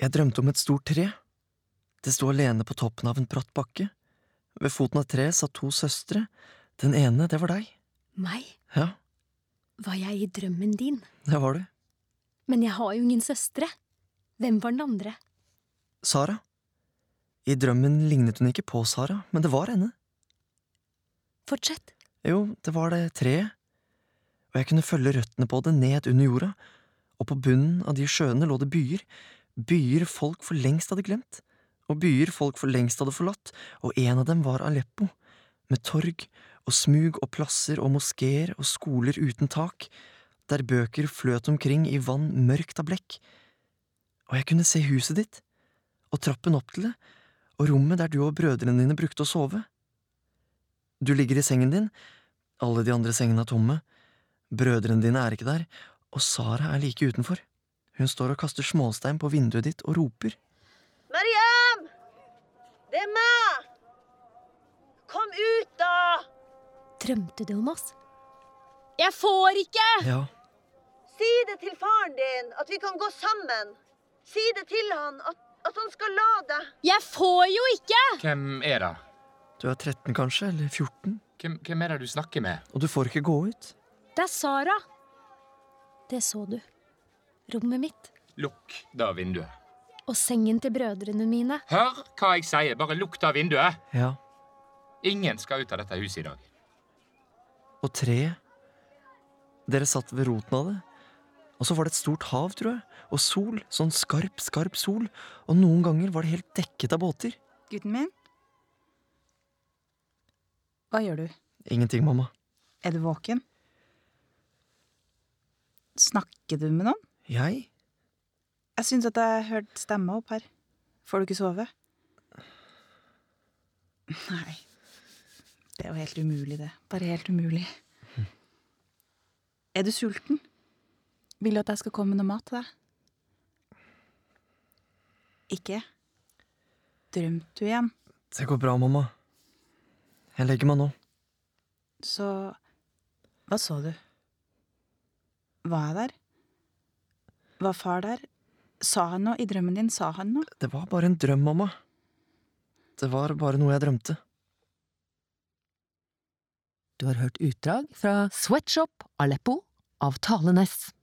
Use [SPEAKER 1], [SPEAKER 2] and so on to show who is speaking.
[SPEAKER 1] Jeg drømte om et stort tre. Det sto alene på toppen av en bratt bakke. Ved foten av treet satt to søstre. Den ene, det var deg.
[SPEAKER 2] Meg?
[SPEAKER 1] Ja,
[SPEAKER 2] Var jeg i drømmen din?
[SPEAKER 1] det var du.
[SPEAKER 2] Men jeg har jo ingen søstre. Hvem var den andre?
[SPEAKER 1] Sara. I drømmen lignet hun ikke på Sara, men det var henne.
[SPEAKER 2] Fortsett.
[SPEAKER 1] Jo, det var det treet. Og jeg kunne følge røttene på det ned under jorda, og på bunnen av de sjøene lå det byer, byer folk for lengst hadde glemt, og byer folk for lengst hadde forlatt, og en av dem var Aleppo, med torg og smug og plasser og moskeer og skoler uten tak, der bøker fløt omkring i vann mørkt av blekk. Og jeg kunne se huset ditt, og trappen opp til det, og rommet der du og brødrene dine brukte å sove. Du ligger i sengen din, alle de andre sengene er tomme, brødrene dine er ikke der, og Sara er like utenfor. Hun står og kaster småstein på vinduet ditt og roper.
[SPEAKER 3] Mariam! Det er meg! Kom ut, da!
[SPEAKER 2] Drømte du om oss? Jeg får ikke!
[SPEAKER 1] Ja,
[SPEAKER 3] Si det til faren din at vi kan gå sammen. Si det til han at, at han skal la deg.
[SPEAKER 2] Jeg får jo ikke!
[SPEAKER 4] Hvem er det?
[SPEAKER 1] du er 13 kanskje, eller 14,
[SPEAKER 4] Hvem, hvem er det du snakker med?
[SPEAKER 1] og du får ikke gå ut.
[SPEAKER 2] Det er Sara. Det så du. Rommet mitt.
[SPEAKER 4] Lukk det vinduet.
[SPEAKER 2] Og sengen til brødrene mine.
[SPEAKER 4] Hør hva jeg sier, bare lukk det vinduet.
[SPEAKER 1] Ja,
[SPEAKER 4] Ingen skal ut av dette huset i dag.
[SPEAKER 1] og treet. Dere satt ved roten av det, og så var det et stort hav, tror jeg, og sol, sånn skarp, skarp sol, og noen ganger var det helt dekket av båter.
[SPEAKER 5] Gutten min? Hva gjør du?
[SPEAKER 1] Ingenting, mamma.
[SPEAKER 5] Er du våken? Snakker du med noen?
[SPEAKER 1] Jeg?
[SPEAKER 5] Jeg syns at jeg hørte stemma opp her. Får du ikke sove? Nei. Det er jo helt umulig, det. Bare helt umulig. Er du sulten? Vil du at jeg skal komme med noe mat til deg? Ikke? Drømte du igjen?
[SPEAKER 1] Det går bra, mamma. Jeg legger meg nå.
[SPEAKER 5] Så Hva så du? Var jeg der? Var far der? Sa han noe i drømmen din? Sa han noe?
[SPEAKER 1] Det var bare en drøm, mamma. Det var bare noe jeg drømte.
[SPEAKER 6] Du har hørt utdrag fra Sweatshop Aleppo av Tale Næss.